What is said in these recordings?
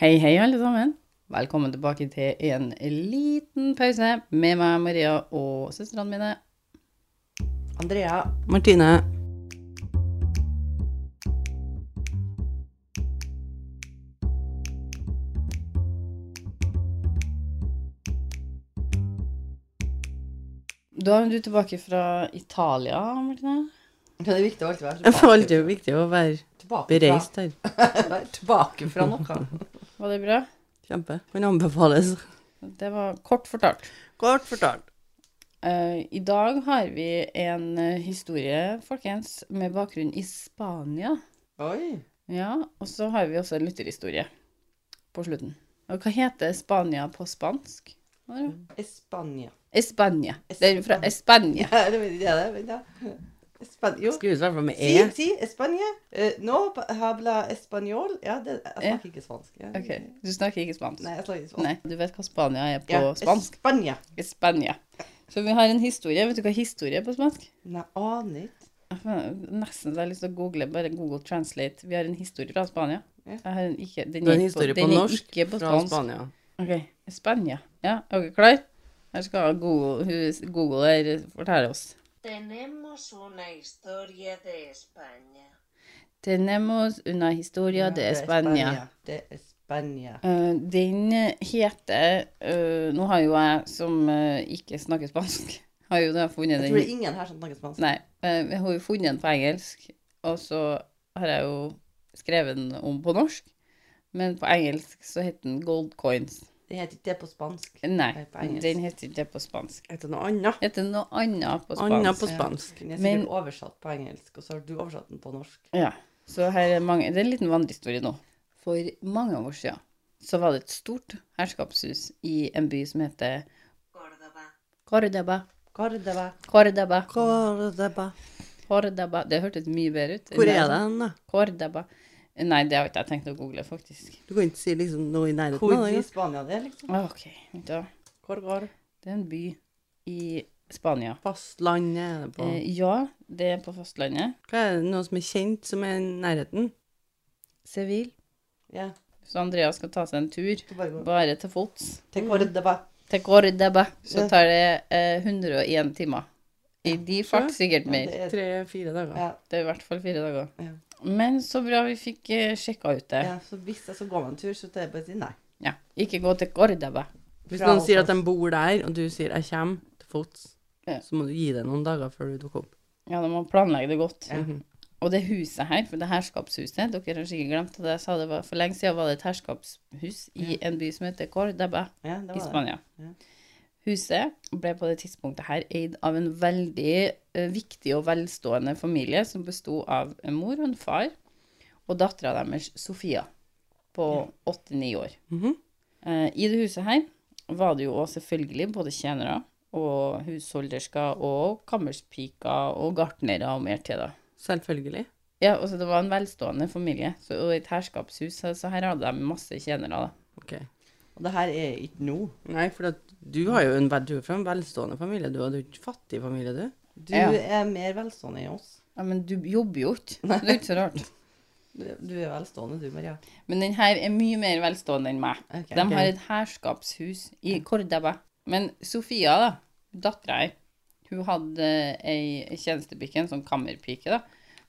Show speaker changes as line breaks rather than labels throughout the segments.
Hei, hei, alle sammen. Velkommen tilbake til en liten pause med meg, Maria, og søstrene mine.
Andrea.
Martine.
Da er du tilbake fra Italia, Martine.
Det er viktig å alltid være
Det er alltid viktig å være
tilbake, fra,
bereist her.
tilbake fra noe.
Var det bra?
Kjempe. Kan anbefales.
Det var kort fortalt.
Kort fortalt.
Eh, I dag har vi en eh, historie, folkens, med bakgrunn i Spania.
Oi.
Ja, og så har vi også en lytterhistorie på slutten. Og hva heter Spania på spansk? Maria?
Spania.
Espania. Det er fra Espania.
Ja, det vet jeg det. Vent, da. Espan jo.
Skrives i hvert fall med
Si,
E.
si, Spania. Eh, no pa- habla español. Ja, det, jeg
Ja.
snakker ikke spansk. Ja.
Ok, du snakker ikke spansk.
Nei, jeg snakker ikke spansk.
Nei, du vet hva Spania er på
Ja,
spansk?
Spania.
Spania. Så vi har en historie. Vet du hva historie er på spansk?
Nei, aner ikke.
Jeg får Nesten så jeg har lyst til å google, bare Google Translate. Vi har en historie fra Spania.
Ja.
Jeg har en ikke, den
Det er en
ikke
historie på
den er
norsk
ikke på
fra
spansk.
Spania.
Ok, Spania. Ja, er dere klar? Her skal Google, hun- Google her fortelle oss.
Tenemos una historia de España.
Tenemos una historia de Spania.
Det er Spania.
Eh, den heter eh, Nå har jo jeg, som eh, ikke snakker spansk, har jo da funnet
Jeg
den
tror det er ingen her som snakker spansk.
Nei, eh, jeg har jo funnet den på engelsk, og så har jeg jo skrevet den om på norsk. Men på engelsk så heter den Gold Coins.
Det heter ikke det på spansk.
Nei,
Nei, på engelsk.
den heter ikke det på spansk.
Heter noe annet.
Heter den noe annet på spansk.
Annet på spansk.
Den er
Men-
sikkert oversatt på engelsk, og så har du oversatt den på norsk.
Ja, så her er mange, det er en liten vandrehistorie nå. For mange år siden så var det et stort herskapshus i en by som heter
Córdoba.
Cordoba.
Córdoba.
Cordoba.
Cordoba.
Cordoba. Det hørtes mye bedre ut.
Hvor er det hen, da?
Cordoba. Nei, det har ikke jeg tenkt å google, faktisk.
Du kan ikke si liksom noe i nærheten
Hvor
av
i
det.
Spania det er, liksom?
Ok, da.
Hvor går
Det er en by i Spania.
Fastlandet er det på.
Eh, ja, det er på fastlandet.
Hva er det noe som er kjent som er i nærheten?
Seville.
Ja,
Så Andrea skal ta seg en tur,
du bare går.
bare til fots.
Til Córdoba.
Til Cordoba. Så
Ja.
tar det eh, 101 timer. I de fart sikkert
Ja,
mer.
det er-
Tre-fire dager.
Ja,
Det er i hvert fall fire dager.
Ja.
Men så bra vi fikk eh, sjekka ut det.
ja, så hvis jeg skal gå meg en tur, så tar jeg bare å si nei.
Ja. Ikke gå til Cordoba.
Hvis
Fra
noen sier at
Alfors.
de bor der, og du sier 'jeg kommer til fots',
Ja.
så må du gi det noen dager før du dukker opp.
Ja, da må man planlegge det godt.
Ja.
Og det huset her, for det herskapshuset Dere har sikkert glemt at jeg sa det var for lenge siden var det et herskapshus i en by som heter Cordoba.
Ja, det
i
var det.
Spania.
Ja.
Huset ble på det tidspunktet her eid av en veldig eh, viktig og velstående familie som besto av en mor og en far og dattera deres Sofia på åtte-ni år.
Mhm.
Eh, I det huset her var det jo også selvfølgelig både tjenere og husholdersker og kammerspiker og gartnere og mer til, da.
Selvfølgelig.
Ja, og så det var en velstående familie, så, og et herskapshus, så, så her hadde de masse tjenere, da.
Ok.
Og det her er ikke nå.
Nei, for at du har jo en, vel- du er fra en velstående familie. Du hadde jo ikke fattig familie, du.
Du
Ja.
er mer velstående enn oss.
Ja, men du jobber jo ikke, så det er jo ikke så rart.
Du, du er velstående, du, Maria.
Men den her er mye mer velstående enn meg.
Ok.
De har et herskapshus i Cordoba. Men Sofia, da, dattera her, hun hadde ei tjenestepikke, en sånn kammerpike, da,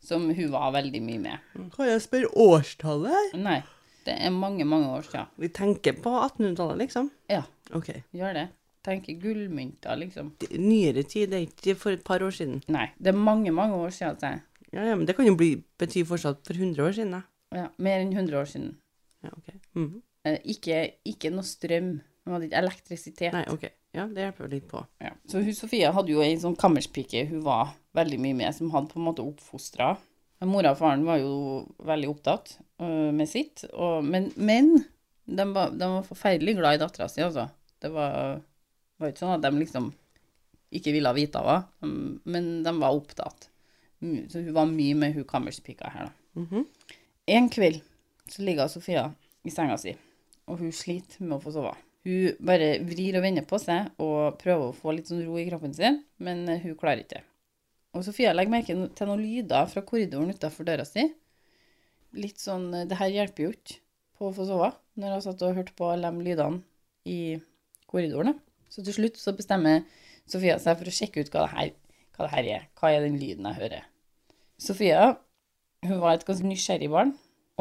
som hun var veldig mye med.
Mm. Kan jeg spørre årstallet her?
Nei, det er mange, mange år siden.
Vi tenker på 1800-tallet, liksom.
Ja,
Ok.
gjør det. Tenker gullmynter, liksom.
Det- Nyere tid, det er ikke for et par år siden.
Nei, det er mange, mange år siden, sier jeg.
Ja, ja, men det kan jo bli, bety fortsatt for 100 år siden, da.
Ja, mer enn 100 år siden.
Ja, ok. Mhm.
Eh, Ikke, ikke noe strøm. De hadde ikke elektrisitet.
Nei, ok. Ja, det hjelper jo litt på.
Ja. Så hun Sofia hadde jo ei sånn kammerspike hun var veldig mye med, som hadde på en måte oppfostra. Mora og faren var jo veldig opptatt øh, med sitt, og, men, men de, var, de var forferdelig glad i dattera si, altså. Det var, var ikke sånn at de liksom ikke ville vite av henne, men de var opptatt. Mm, Så hun var mye med hun kammerspika her, da. En kveld så ligger Sofia i senga si, og hun sliter med å få sove. Hun bare vrir og vender på seg og prøver å få litt sånn ro i kroppen sin, men eh, hun klarer ikke det. Og Sofia legger merke no- til noen lyder fra korridoren utafor døra si. Litt sånn eh, Det her hjelper jo ikke. på å få sove når jeg satt og hørte på alle de lydene i korridorene. Så til slutt så bestemmer Sofia seg for å sjekke ut hva det her, hva det her er. Hva er den lyden jeg hører? Sofia hun var et ganske nysgjerrig barn,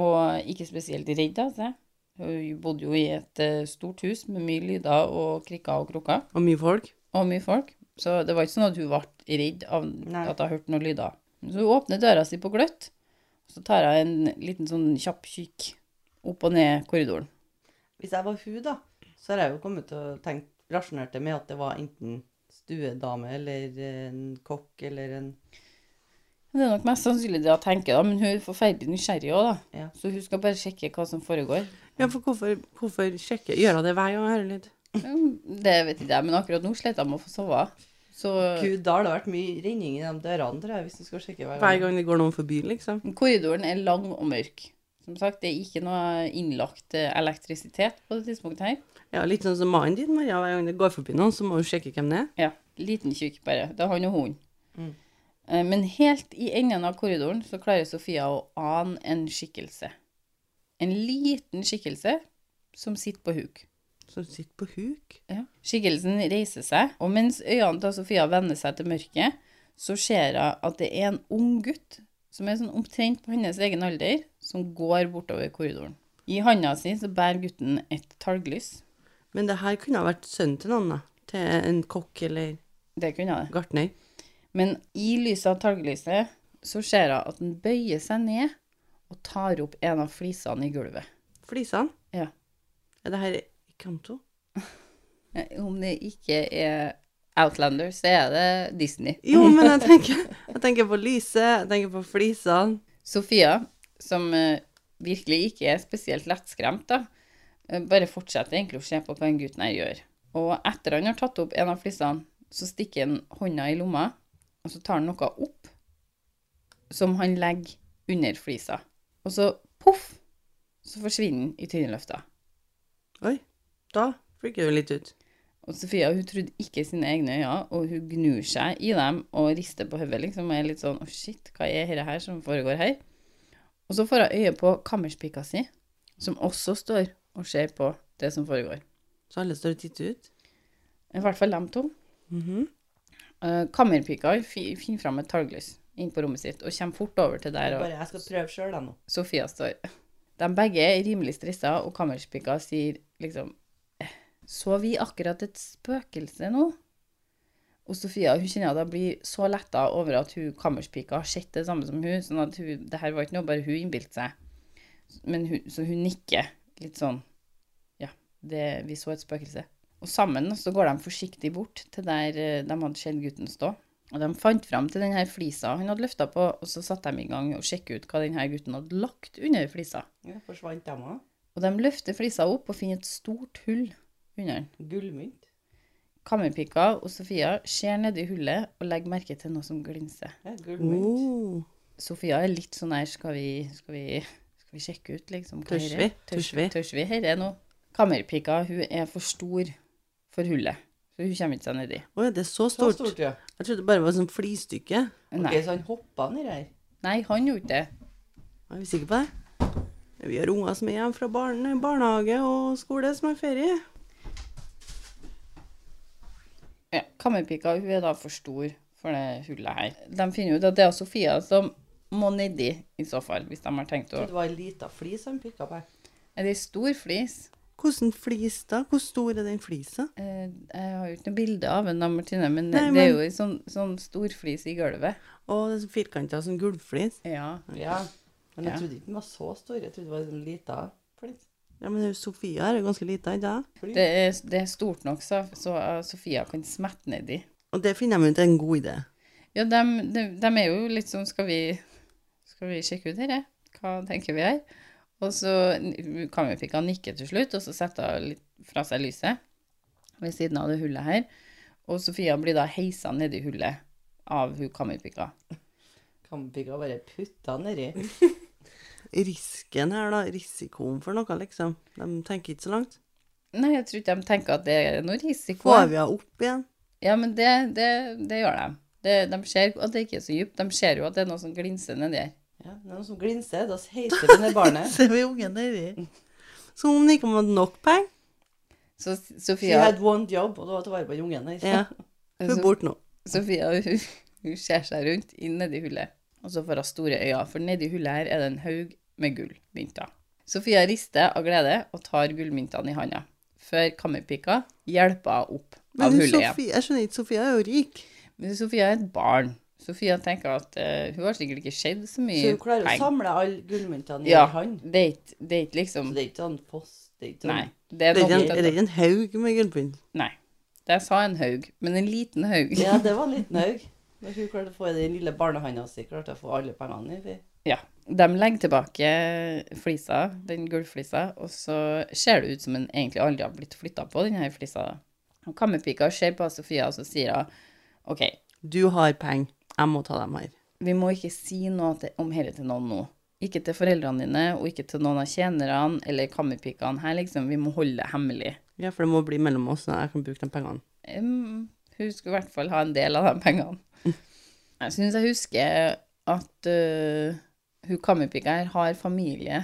og ikke spesielt redd av seg. Hun bodde jo i et eh, stort hus med mye lyder og krikker og krukker
Og mye folk.
og mye folk. Så det var ikke sånn at hun ble redd av
Nei.
at hun hørte noen lyder. Så hun åpner døra si på gløtt, og så tar hun en liten sånn kjapp kikk opp og ned korridoren.
Hvis jeg var hun, da, så hadde jeg jo kommet til å tenke rasjonert det med at det var enten stuedame eller en kokk eller en
Det er nok mest sannsynlig det hun tenker, da, men hun er forferdelig nysgjerrig òg, da.
Ja.
Så hun skal bare sjekke hva som foregår.
Ja, for hvorfor, hvorfor sjekke? Gjør hun det hver gang hun hører lyd?
Det vet ikke jeg, men akkurat nå sliter jeg med å få sove. Så
Gud, da har det vært mye renning i de dørene, tror jeg, hvis du skal sjekke hver gang.
Hver gang det går noen forbi, liksom.
korridoren er lang og mørk. Som sagt, det er ikke noe innlagt eh, elektrisitet på det tidspunktet her.
Ja, Litt sånn som mannen din, Maria. Hver gang det går forbi noen, så må hun sjekke hvem det er.
Ja, liten tjukk bare. Det er han og hun.
Mm.
Eh, Men helt i enden av korridoren så klarer Sofia å ane en skikkelse. En liten skikkelse som sitter på huk.
Som sitter på huk.
Skikkelsen reiser seg, og mens øynene til Sofia vender seg til mørket, så ser hun at det er en ung gutt som er sånn omtrent på hennes egen alder, som går bortover korridoren. I handa si så bærer gutten et talglys.
Men det her kunne ha vært sønnen til noen, da. Til en kokk eller
Det kunne jeg det.
gartner.
Men i lyset av talglyset så ser jeg at den bøyer seg ned og tar opp en av flisene i gulvet.
Flisene.
Ja.
Er det her Kanto?
Eh, Om det ikke er Outlander, så er det Disney.
Jo, men jeg tenker, jeg tenker på lyset, jeg tenker på flisene.
Sofia, som eh, virkelig ikke er spesielt lettskremt, da, eh, bare fortsetter egentlig å se på hva den gutten her gjør. Og etter han har tatt opp en av flisene, så stikker han hånda i lomma, og så tar han noe opp som han legger under flisa. Og så poff, så forsvinner den i tynneløfta.
Oi, da freaker du litt ut.
Og Sofia hun trodde ikke sine egne øyne, og hun gnur seg i dem og rister på hodet. Liksom, og er litt sånn 'Å, shit, hva er dette her som foregår her?' Og så får hun øye på kammerspika si, som også står og ser på det som foregår.
Så alle står og titter ut.
I hvert fall dem to.
Mhm.
Eh, Kammerpika fi- finner fram et talglys inn på rommet sitt og kommer fort over til der og
Bare jeg skal prøve sjøl, da, nå.
Sofia står. De begge er rimelig stressa, og kammerspika sier liksom «Eh, Så vi akkurat et spøkelse nå? Og Sofia hun kjenner at hun blir så letta over at hun kammerspika har sett det samme som hun, sånn at hun, det her var ikke noe bare hun innbilte seg. Men hun, så hun nikker litt sånn Ja, det, vi så et spøkelse. Og sammen så går de forsiktig bort til der eh, de hadde sett gutten stå. Og de fant fram til den her flisa han hadde løfta på, og så satte de i gang og sjekket ut hva den her gutten hadde lagt under flisa.
Ja, forsvant dem òg?
Og de løfter flisa opp og finner et stort hull under den.
Gullmynt?
Kammerpika og Sofia ser nedi hullet og legger merke til noe som glinser.
Ja, gullmynt.
Oh,
Sofia er litt sånn her Skal vi, skal vi, skal vi sjekke ut, liksom? hva
Tørs
her
vi?
er? Tørs
Tørs vi?
Tørs vi? Her er noe. Kammerpika hun er for stor for hullet, så hun kommer ikke seg nedi.
Å ja, det er så
Så
stort.
stort, ja.
Jeg trodde det bare var sånn flistykke.
Ok,
Nei.
så han hoppa ned her.
Nei, han gjorde ikke det.
Er vi sikre på det? Vi har unger som er hjemme fra barn, barnehage og skole som har ferie.
Ja, Kammerpika hun er da for stor for det hullet her. De finner ut at det er Sofia som må nedi, i så fall, hvis de har tenkt å
Så det var ei lita flis han pikka på her.
Er det ei stor flis?
Hvordan flis da? Hvor stor er den flisa?
Eh, Jeg har jo ikke noe bilde av en da, Martine, men
Nei,
det er
men-
jo ei sånn, sånn stor flis i gulvet.
Å, det er sånn firkanta, sånn gulvflis.
Ja.
Ja. Men
Ja.
jeg trodde ikke den var så stor. Jeg trodde det var en lita flis.
Ja, men hun Sofia er jo ganske lita i dag.
Det er, det er stort nok, så, så eh, Sofia kan smette nedi.
Og det finner de ut er en god idé.
Ja, de, er jo litt sånn Skal vi, skal vi sjekke ut dette? Hva tenker vi her? Og så n- kammerpika nikker til slutt, og så setter hun litt fra seg lyset ved siden av det hullet her. Og Sofia blir da heisa nedi hullet av hun kammerpika.
Kammerpikka bare putta nedi.
Risken her, da. Risikoen for noe, liksom. De tenker ikke så langt.
Nei, jeg tror ikke de tenker at det er noe risiko.
Får vi henne opp igjen?
Ja, men det, det, det gjør de. Det, de ser at det ikke er så dypt. De ser jo at det er noe som glinser nedi her.
Ja, det er noen som glinser. Da heiser vi ned barnet.
Ser vi ungen nedi? Som om den ikke hadde nok penger.
Så
She
Sofia,
had one job, og det var til å være på jungen hennes.
Ja, hun er
så,
borte nå.
Sofia hun, hun ser seg rundt inn nedi hullet, og så får hun store øyne, for nedi hullet her er det en haug med gullmynter. Sofia rister av glede og tar gullmyntene i handa, før kammerpika hjelper henne opp av
Men hun,
hullet igjen.
Sofie, jeg skjønner ikke, Sofia er jo rik.
Men Sofia er et barn. Sofia tenker at eh, hun har sikkert ikke skjedd så
Så
mye
hun klarer å
penger.
samle alle gullmyntene i
Ja.
en hånd.
Det er ikke- det er ikke liksom
Så det er ikke sånn post. Det er ikke
Nei.
sånn
Det er
Det er ikke
noe
en, er det ikke en haug med gullpynt.
Nei. Jeg sa en haug, men en liten haug.
Ja, det var en liten haug. Men hun klarte å få i den lille barnehanda si, klarte å få alle pengene i.
Ja. De legger tilbake flisa, den gullflisa, og så ser det ut som den egentlig aldri har blitt flytta på, den her flisa. Og Kammerpika ser på Sofia, og så sier hun OK,
Du har penger. Jeg må ta dem her.
vi må ikke si noe til, om dette til noen nå. Ikke til foreldrene dine, og ikke til noen av tjenerne eller kammerpikene her, liksom. Vi må holde det hemmelig.
Ja, for det må bli mellom oss når jeg kan bruke de pengene.
Em, hun skulle i hvert fall ha en del av de pengene. Jeg syns jeg husker at øh, hun kammerpika her har familie,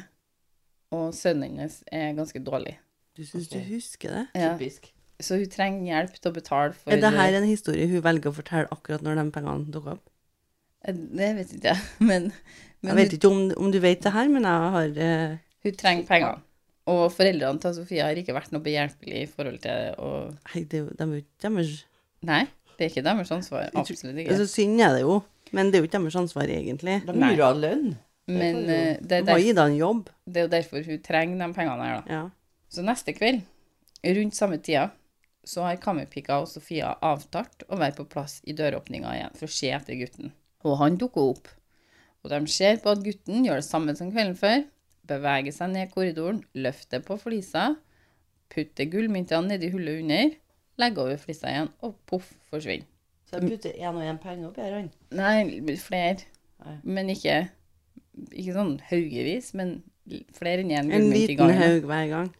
og sønnen hennes er ganske dårlig.
Du syns
Ok.
du husker det?
Ja,
Typisk.
så hun trenger hjelp til å betale for
Er det her en historie hun velger å fortelle akkurat når de pengene dukker opp?
Eh, Det vet ikke jeg, men, men
Jeg vet
hun,
ikke om, om du vet det her, men jeg har eh,
hun trenger pengene. Og foreldrene til Sofia har ikke vært noe behjelpelig i forhold til å
Nei, det, er jo- de er jo ikke deres
Nei, det er ikke deres ansvar. Absolutt ikke.
Altså, synd er det jo, men det er jo ikke deres ansvar, egentlig.
De
Nei.
lurer av lønn.
Men
det får jo-
eh, det
De
er,
må
der,
gi deg en jobb.
det er jo derfor hun trenger de pengene her, da.
Ja.
Så neste kveld, rundt samme tida, så har kammerpika og Sofia avtalt å være på plass i døråpninga igjen for å se etter gutten. Og han dukker opp. Og de ser på at gutten gjør det samme som kvelden før. Beveger seg ned korridoren, løfter på flisa, putter gullmyntene nedi hullet under, legger over flisa igjen, og poff, forsvinner.
Så
Mm.
jeg putter én og én penge oppi her. han.
Nei, flere.
Nei.
Men ikke, ikke sånn haugevis, men flere enn én
En
gullmynt i
liten
gangen.
haug hver gang.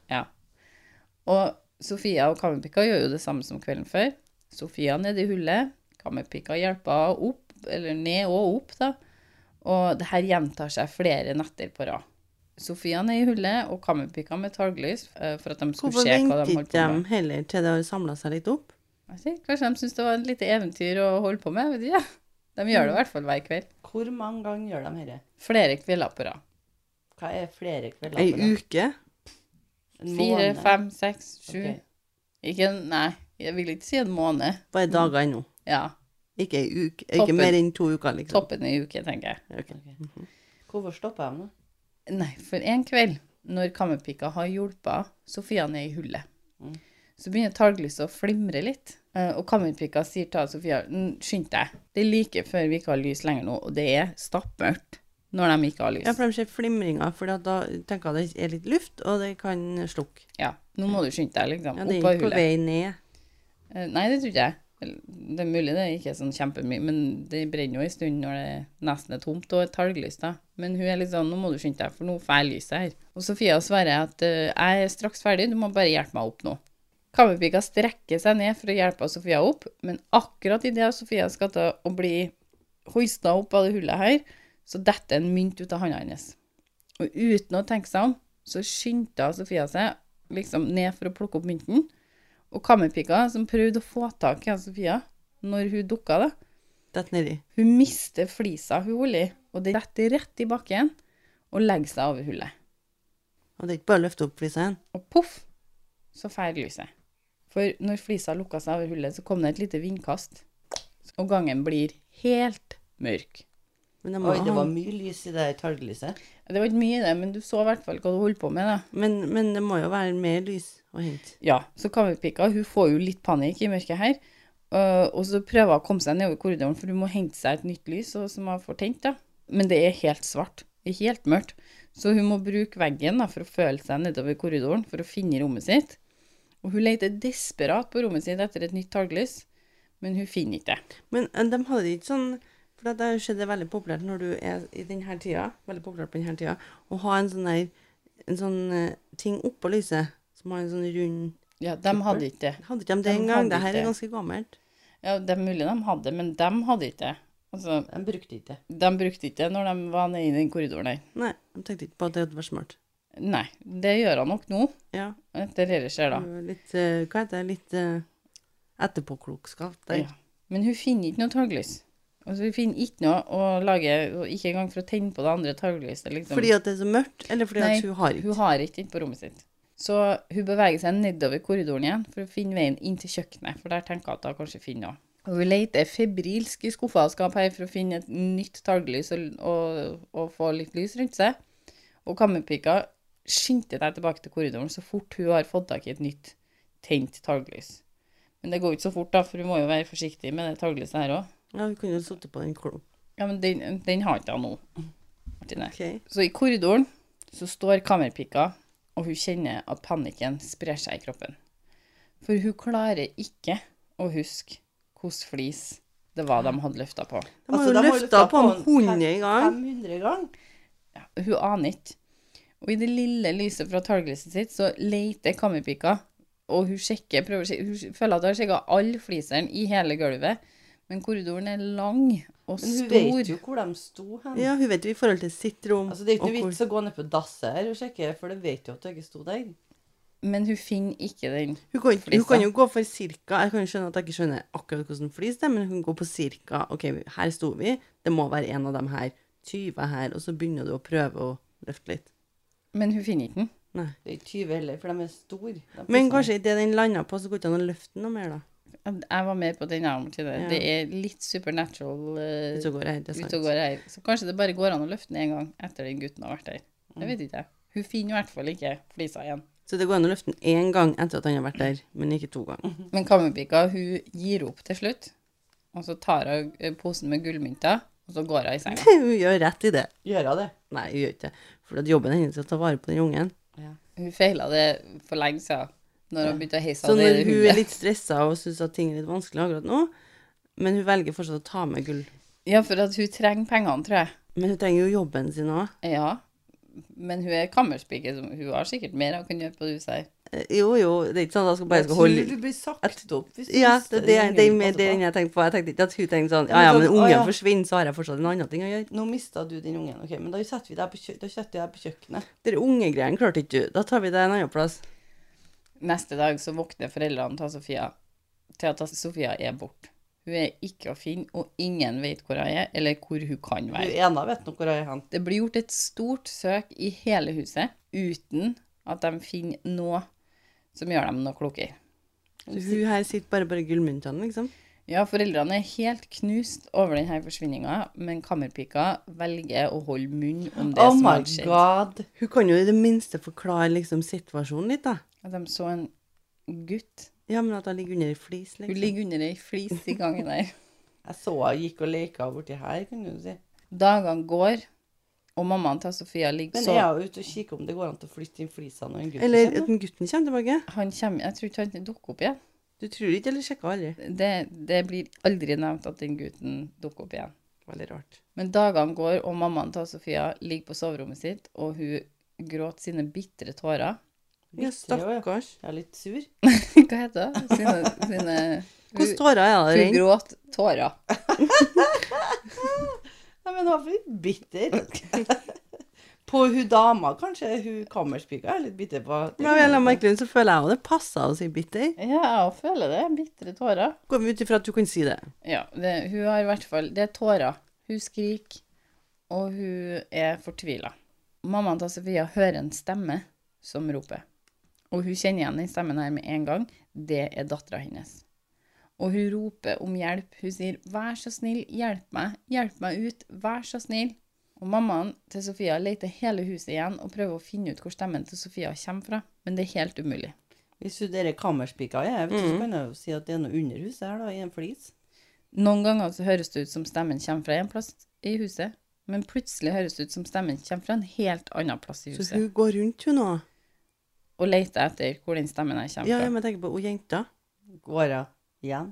Og Sofia og Kammerpikka gjør jo det samme som kvelden før. Sofia nede i hullet, Kammerpikka hjelper henne opp, eller ned og opp, da. Og det her gjentar seg flere netter på rad. Sofia nede i hullet og Kammerpikka med talglys eh, for at de skulle
Hvorfor
se hva
venter
de
ikke
holdt på
de
med.
heller til det har samla seg litt opp?
Jeg vet ikke, Kanskje de syntes det var et lite eventyr å holde på med? vet ikke. De gjør det i hvert fall hver kveld.
Hvor mange ganger gjør de dette?
Flere kvelder på rad.
Hva er flere kvelder?
Ei
på rad?
uke?
En
Fire,
måned?
fem, seks, sju
Ok.
Ikke en Nei, jeg vil ikke si en måned.
Bare dager ennå.
Ja.
Ikke ei uke.
Toppen.
Ikke mer enn to uker, liksom.
Toppen i uke, tenker jeg.
Ok.
Ok. Hvorfor stopper de nå?
Nei, for en kveld, når kammerpika har hjulpet Sofia ned i hullet,
Mm.
så begynner talglyset å flimre litt. Eh, Og kammerpika sier til Sofia, «N- skynd deg, det er like før vi ikke har lys lenger nå, og det er stappmørkt når de ikke har lys.
Ja, for de ser flimringer, for da tenker jeg det er litt luft, og det kan slukke.
Ja, nå må du skynde deg, liksom,
Ja,
opp
det
av
er ikke på
hullet.
vei ned.
Eh, Nei, det tror ikke jeg. Eller, Det er mulig det er ikke sånn kjempemye, men det brenner jo en stund når det nesten er tomt og et talglys, da. Men hun er litt sånn, nå må du skynde deg, for nå får jeg lyset her. Og Sofia svarer at eh, jeg er straks ferdig, du må bare hjelpe meg opp nå. Kammerpika strekker seg ned for å hjelpe Sofia opp, men akkurat idet Sofia skal til å bli hoista opp av det hullet her, så detter en mynt ut av handa hennes. Og uten å tenke seg om, så skyndte Sofia seg liksom ned for å plukke opp mynten. Og kammerpika, som prøvde å få tak i Sofia når hun dukka, da,
Dett nedi.
hun mister flisa hun holder i, og det detter rett i bakken og legger seg over hullet.
Og det er ikke bare å løfte opp flisa igjen.
Og poff, så feir lyset. For når flisa lukka seg over hullet, så kom det et lite vindkast. Og gangen blir helt mørk.
Men, det må
Oi, det
ha-
var mye lys i det her talglyset.
Det var ikke mye i det, men du så i hvert fall hva du holdt på med, da.
men, men det må jo være mer lys å hente.
Ja, så kammerpika, hun får jo litt panikk i mørket her. øh, og så prøver hun å komme seg nedover korridoren, for hun må hente seg et nytt lys og, som hun får tent. da. Men det er helt svart. Det er helt mørkt. Så hun må bruke veggen da, for å føle seg nedover korridoren for å finne rommet sitt. Og hun leter desperat på rommet sitt etter et nytt talglys, men hun finner ikke det.
Men eh, de hadde ikke sånn For at det har jo skjedd det veldig populært når du er i denne tida, veldig populært på denne tida, å ha en sånn der en sånn eh, ting oppå lyset som har en sånn rund
Ja, De hadde ikke det.
Hadde ikke de
De
det engang?
hadde
Det her
ikke.
er ganske gammelt.
Ja, Det er mulig de hadde det, men de hadde ikke det. Altså,
De brukte ikke det.
De brukte ikke det når de var nede i den korridoren der.
Nei, de tenkte ikke på at det var smart.
Nei, det gjør han nok nå,
Ja.
etter det det skjer da.
du er Litt eh, Hva heter det? Litt eh, etterpåklokskap der.
Ja. Men hun finner ikke noe taglys. Altså, hun finner ikke noe å lage, og ikke engang for å tenne på det andre taglyset. Liksom.
Fordi at det er så mørkt, eller fordi
Nei,
at hun har ikke
Hun har ikke den på rommet sitt. Så hun beveger seg nedover korridoren igjen for å finne veien inn til kjøkkenet, for der tenker hun at hun kanskje finner noe. Og hun leter febrilsk i skuffer og skap her for å finne et nytt taglys og, og, og få litt lys rundt seg. Og kammerpika skyndte seg tilbake til korridoren så fort hun har fått tak i et nytt tent taglys. Men det går jo ikke så fort, da, for hun må jo være forsiktig med det taglyset her òg.
Ja, hun kunne jo sittet på den klumpen.
Ja, men den, den har ikke jeg nå, Martine.
Ok.
Så i korridoren så står kammerpikka, og hun kjenner at panikken sprer seg i kroppen. For hun klarer ikke å huske hvilken flis det var de hadde løfta på.
De
Altså,
har jo løfta på den hundre ganger.
500 ganger.
Ja, hun aner ikke. Og i det lille lyset fra talglyset sitt så leter kammerpikka, og hun sjekker, prøver, å sjekke- hun føler at hun har sjekka alle flisene i hele gulvet, men korridoren er lang og
Men hun
stor.
vet jo hvor de sto hen.
Ja, hun vet jo i forhold til sitt rom.
Altså, det er jo ikke
og
noe
hvor-
vits å gå ned på dasset her og sjekke, for det vet jo at du ikke sto der.
Men hun finner ikke den
Hun kan, hun
Flisa.
kan jo gå for cirka Jeg kan jo skjønne at jeg ikke skjønner akkurat hvordan flis det er, men hun kan gå på cirka OK, her sto vi, det må være en av dem her. 20 her, og så begynner du å prøve å løfte litt.
Men hun finner ikke den.
Det er ikke 20 heller, for de er store. De
Men
plassene.
kanskje idet den landa på, så går det ikke an å løfte den noe mer, da.
Jeg var mer på den armen til det.
Ja.
Det er litt supernatural eh,
Hvis hun går her, det er
ute og
sant.
går her. Så kanskje det bare går an å løfte den en gang etter den gutten har vært der.
Mm.
Jeg vet ikke. jeg. Hun finner i hvert fall ikke flisa igjen.
Så det går an å løfte den én gang etter at han har vært der, men ikke to ganger.
Men kammerpika hun gir opp til slutt. Og så tar hun eh, posen med gullmynter, og så går hun i senga.
hun gjør rett i det.
Gjør hun det?
Nei, hun gjør ikke det. For at jobben hennes er å ta vare på den ungen.
Hun feila det for lenge siden når hun begynte å heise
Så
av det
når hun er
hullet.
litt stressa og syns at ting er litt vanskelig akkurat nå, men hun velger fortsatt å ta med gull.
Ja, for at hun trenger pengene, tror jeg.
Men hun trenger jo jobben sin òg.
Ja. Men hun er kammerspike, så hun har sikkert mer hun kan gjøre på det huset her.
Eh, Jo, jo, det er ikke sånn at jeg skal bare
Jeg
skal
tror
holde
du blir sagt opp hvis du
Ja,
hvis
det, det, er-
ingen
det er mer
passer
det
på.
jeg tenkte på. Jeg tenkte ikke at hun tenkte sånn
Ja,
Ja,
men
ja,
sånn,
men
å,
ungen
ja.
forsvinner, så har jeg fortsatt en annen ting å gjøre.
Nå mista du den ungen, ok, men da setter vi deg på, kjø da setter jeg deg på kjøkkenet.
De ungegreiene klarte ikke du. Da tar vi det en annen plass.
Neste dag så våkner foreldrene til Sofia til at Sofia er borte. Hun er ikke å finne, og ingen vet hvor hun er, eller hvor hun kan
Du
være.
ena vet nå hvor jeg er hen.
Det blir gjort et stort søk i hele huset uten at de finner noe som gjør dem noe klokere.
Så hun her sitter bare på gullmyntene, liksom.
Ja, foreldrene er helt knust over denne forsvinninga, men kammerpika velger å holde munn om det
Oh
som
my
har skjedd.
god.
Hun kan jo i det minste forklare liksom situasjonen litt, da.
At de så en gutt.
Ja, men at hun ligger under ei flis,
Hun
liksom.
ligger under ei flis i gangen der.
Jeg så hun gikk og leka borti her, kunne du si.
Dagene går, og mammaen til Sofia ligger
Men
så
er hun ute og kikker om det går an til å flytte inn flisa når en gutt
Eller at
kommer?
den gutten kommer tilbake.
Han kommer, jeg tror ikke han dukker opp igjen.
Du tror ikke, eller sjekker aldri.
Det, det blir aldri nevnt at den gutten dukker opp igjen.
Veldig rart.
Men dagene går, og mammaen til Sofia ligger på soverommet sitt, og hun gråter sine bitre tårer.
Ja, stakkars.
Jeg er litt sur.
Hva heter det? Sine, sine,
Hvordan
hun,
tårer er det?
hun
Ren?
gråter tårer.
Nei, men hun er litt bitter. på hun dama, kanskje. Hun kammerspika er litt bitter på.
Ja, vel, av merkelig grunn så føler jeg òg det passer å si bitter.
Ja, jeg føler det. Bitre tårer.
Går vi ut ifra at du kan si det.
Ja, det, hun har i hvert fall Det er tårer. Hun skriker, og hun er fortvila. Mammaen til Sofia hører en stemme som roper. Og hun kjenner igjen den stemmen her med en gang. Det er dattera hennes. Og hun roper om hjelp. Hun sier 'vær så snill, hjelp meg, hjelp meg ut, vær så snill'. Og mammaen til Sofia leter hele huset igjen og prøver å finne ut hvor stemmen til Sofia kommer fra, men det er helt umulig.
Hvis hun dere kammerspika er, vet du, så kan jeg jo si at det er noe under huset her, da, i en flis.
Noen ganger så høres det ut som stemmen kommer fra en plass i huset, men plutselig høres det ut som stemmen kommer fra en helt annen plass i
Så
huset,
hun går rundt, hun nå.
og leter etter hvor den stemmen her kommer
Ja,
fra.
ja, men jeg tenker på hun jenta.
Går hun igjen?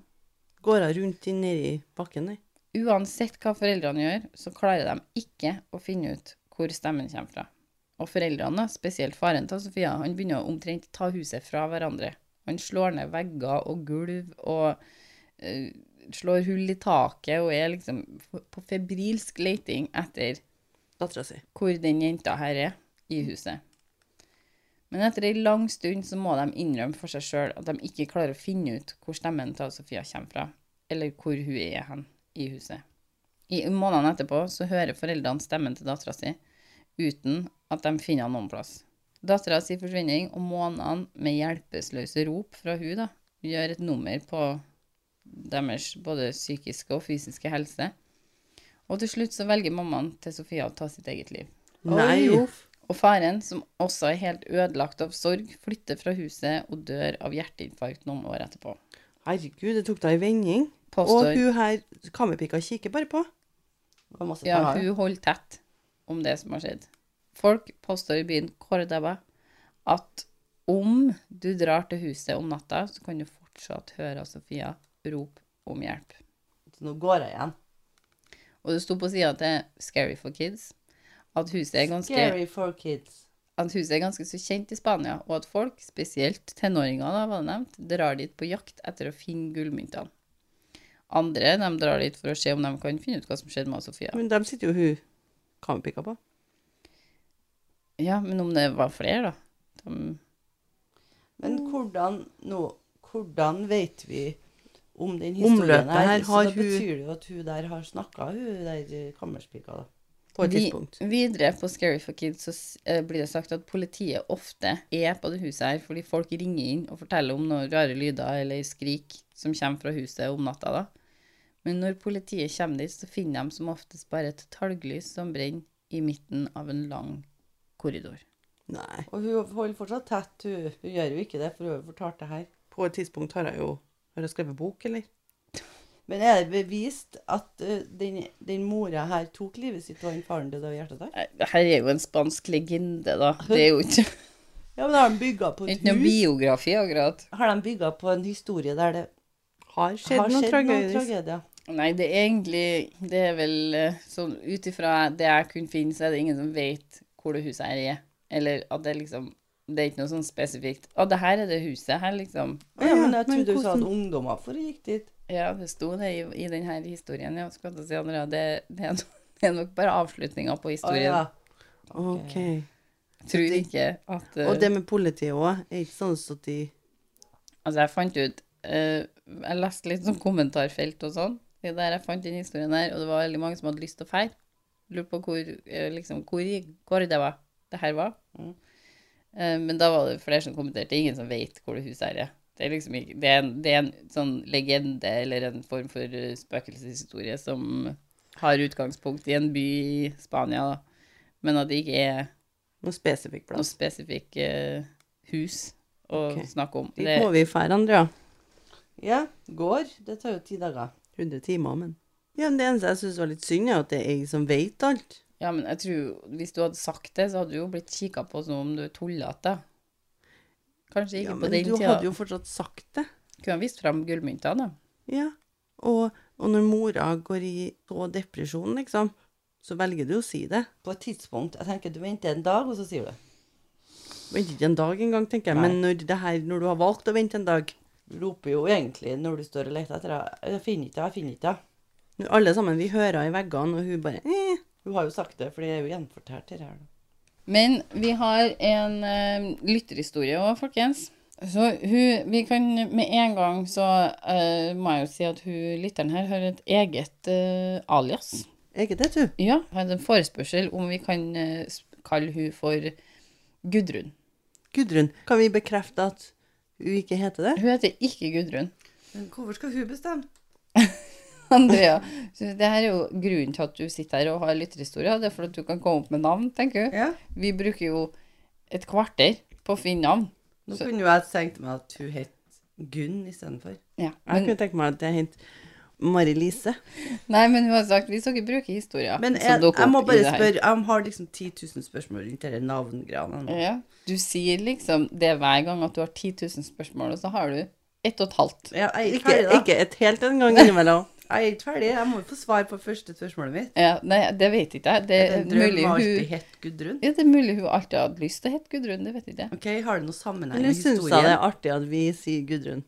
Går hun rundt inn nedi bakken der?
Uansett hva foreldrene gjør, så klarer de ikke å finne ut hvor stemmen kommer fra. Og foreldrene, spesielt faren til Sofia, han begynner å omtrent ta huset fra hverandre. Han slår ned vegger og gulv og eh, slår hull i taket og er liksom på febrilsk leting etter
Dattera si.
hvor den jenta her er i huset. Men etter ei lang stund så må de innrømme for seg sjøl at de ikke klarer å finne ut hvor stemmen til Sofia kommer fra, eller hvor hun er hen i huset. I månedene etterpå så hører foreldrene stemmen til dattera si, uten at de finner han noen plass. Dattera si forsvinning og månedene med hjelpeløse rop fra hun da, gjør et nummer på deres både psykiske og fysiske helse. Og til slutt så velger mammaen til Sofia å ta sitt eget liv.
Nei,
Oi.
uff.
Og faren, som også er helt ødelagt av sorg, flytter fra huset og dør av hjerteinfarkt noen år etterpå.
Herregud, det tok da en vending. Og
Påstår
hun her, kammerpika kikker bare på.
Det var masse
ja,
penger.
hun holder tett om det som har skjedd. Folk påstår i byen Cordoba at om du drar til huset om natta, så kan du fortsatt høre Sofia rope om hjelp.
Så nå går jeg igjen.
Og det sto på sida til Scary for Kids at huset er ganske
Scary for kids.
at huset er ganske så kjent i Spania, og at folk, spesielt tenåringer, da, var det nevnt, drar dit på jakt etter å finne gullmyntene. Andre de drar dit for å se om de kan finne ut hva som skjedde med Sofia.
Men dem sitter jo hun kammerpika på.
Ja, men om det var flere, da? De,
Men hvordan nå Hvordan vet vi om den historien
Omløpet
her?
her
så
har
da
hun-
betyr det jo at hun der har snakka, hun der eh, kammerspika, da.
På et
Vi-
tidspunkt.
Videre på Scary for Kids så s- eh, blir det sagt at politiet ofte er på det huset her fordi folk ringer inn og forteller om noen rare lyder eller skrik som kommer fra huset om natta. da. Men når politiet kommer dit, så finner de som oftest bare et talglys som brenner i midten av en lang korridor.
Nei.
Og hun holder fortsatt tett, hun. Hun gjør jo ikke det, for hun har jo fortalt det her.
På et tidspunkt har jeg jo Har jeg skrevet bok, eller?
Men er det bevist at eh, den, den mora her tok livet sitt og den faren døde av hjertetak?
Eh, Her er jo en spansk legende, da. Det er jo ikke,
Ja, men har de bygga på et
ikke noe
hus?
biografi, akkurat.
Har de bygga på en historie der det
Har skjedd
har
noen
skjedd noen
tragedier?
tragedier?
Nei, det er egentlig Det er vel eh, sånn ut ifra det jeg kunne finne, så er det ingen som vet hvor det huset her er. Eller at det liksom Det er ikke noe sånn spesifikt. Å, det her er det huset her, liksom.
Å ja,
Ja,
men jeg
men
trodde hun sa at
hvordan-
ungdommer for gikk dit.
Ja, det sto det i, i den her historien, ja. Skulle jeg til å si, Andrea, det, det, er nok, det er nok bare avslutninga på
Å
historien.
ja.
Ok.
Jeg tror ikke at eh,
Og det med politiet òg. Er ikke sånn at de
Altså, jeg fant ut eh, Jeg leste litt sånn kommentarfelt og sånn. Det der jeg fant den historien der, og det var veldig mange som hadde lyst til å fære. Lurte på hvor, eh, liksom, hvor i går det var. Det her var.
Mm.
Mhm.
Eh, men da var det flere som kommenterte. Ingen som vet hvor det huset her er. Det er liksom ikke Det er en, det er en sånn legende eller en form for eh, spøkelseshistorie som har utgangspunkt i en by i Spania, da. Men at det ikke er
Noe spesifikk
noe
plass.
spesifikk eh, hus å
Ok.
snakke om.
Dit må vi fære, Andrea.
Ja, går. Det tar jo ti dager.
100 timer, men Ja, men Det eneste jeg syns var litt synd, er at det er jeg som vet alt.
Ja, men jeg tror Hvis du hadde sagt det, så hadde du jo blitt kikka på som om du tullete. Kanskje ikke
Ja,
på
men
den
du
tida.
hadde jo fortsatt sagt det.
Kunne ha vist fram gullmyntene, da.
Ja. Og, og når mora går i så depresjon, liksom, så velger du å si det.
På et tidspunkt. Jeg tenker du venter en dag, og så sier du det.
Venter ikke en dag engang, tenker jeg.
Nei.
Men når, det her, når du har valgt å vente en dag
Du roper jo egentlig når du står og leter etter det. 'Jeg finner ikke det, jeg finner ikke det'.
når Alle sammen, vi hører i veggene, og hun bare eh.
Hun har jo sagt det, for det er jo gjenfortalt det her. da.
Men vi har en eh, lytterhistorie òg, folkens. Så hun Vi kan med en gang så eh, må jeg jo si at hun lytteren her har et eget eh, alias.
Er ikke det, du?
Ja, jeg hadde en forespørsel om vi kan eh, sp- kalle hun for Gudrun.
Gudrun, kan vi bekrefte at hun ikke heter det?
Hun heter ikke Gudrun.
Men hvorfor skal hun bestemme?
Andrea, så det her er jo grunnen til at du sitter her og har lytterhistorie. Det er for at du kan komme opp med navn, tenker du.
Ja.
Vi bruker jo et kvarter på å finne navn.
Nå
Så-
kunne jo jeg tenkt meg at hun het Gunn istedenfor.
Ja.
Jeg
Men,
kunne tenke meg at det het Mari-Lise.
nei, men hun har sagt hvis dere bruker historier
Men
som
jeg,
dukker
jeg må
opp i
bare
det her.
spørre, jeg har liksom 10 000 spørsmål rundt disse navngreiene. nå.
ja. Du sier liksom det hver gang at du har 10 000 spørsmål, og så har du ett og et halvt.
Ja, Jeg er ikke
Ikke,
ferdig, da.
ikke et helt engang innimellom.
Jeg er ikke ferdig. Jeg må jo få svar på første spørsmålet mitt.
Ja, nei, det vet ikke jeg. Det
Er
er
det en drøm
Eh, mulig
har
hun,
alltid hett Gudrun.
ja, det er mulig hun alltid har hatt lyst til å hete Gudrun, det vet ikke jeg.
Ok, Har det noe sammenheng
Eller
med
syns jeg det
historien?
er artig at vi sier Gudrun?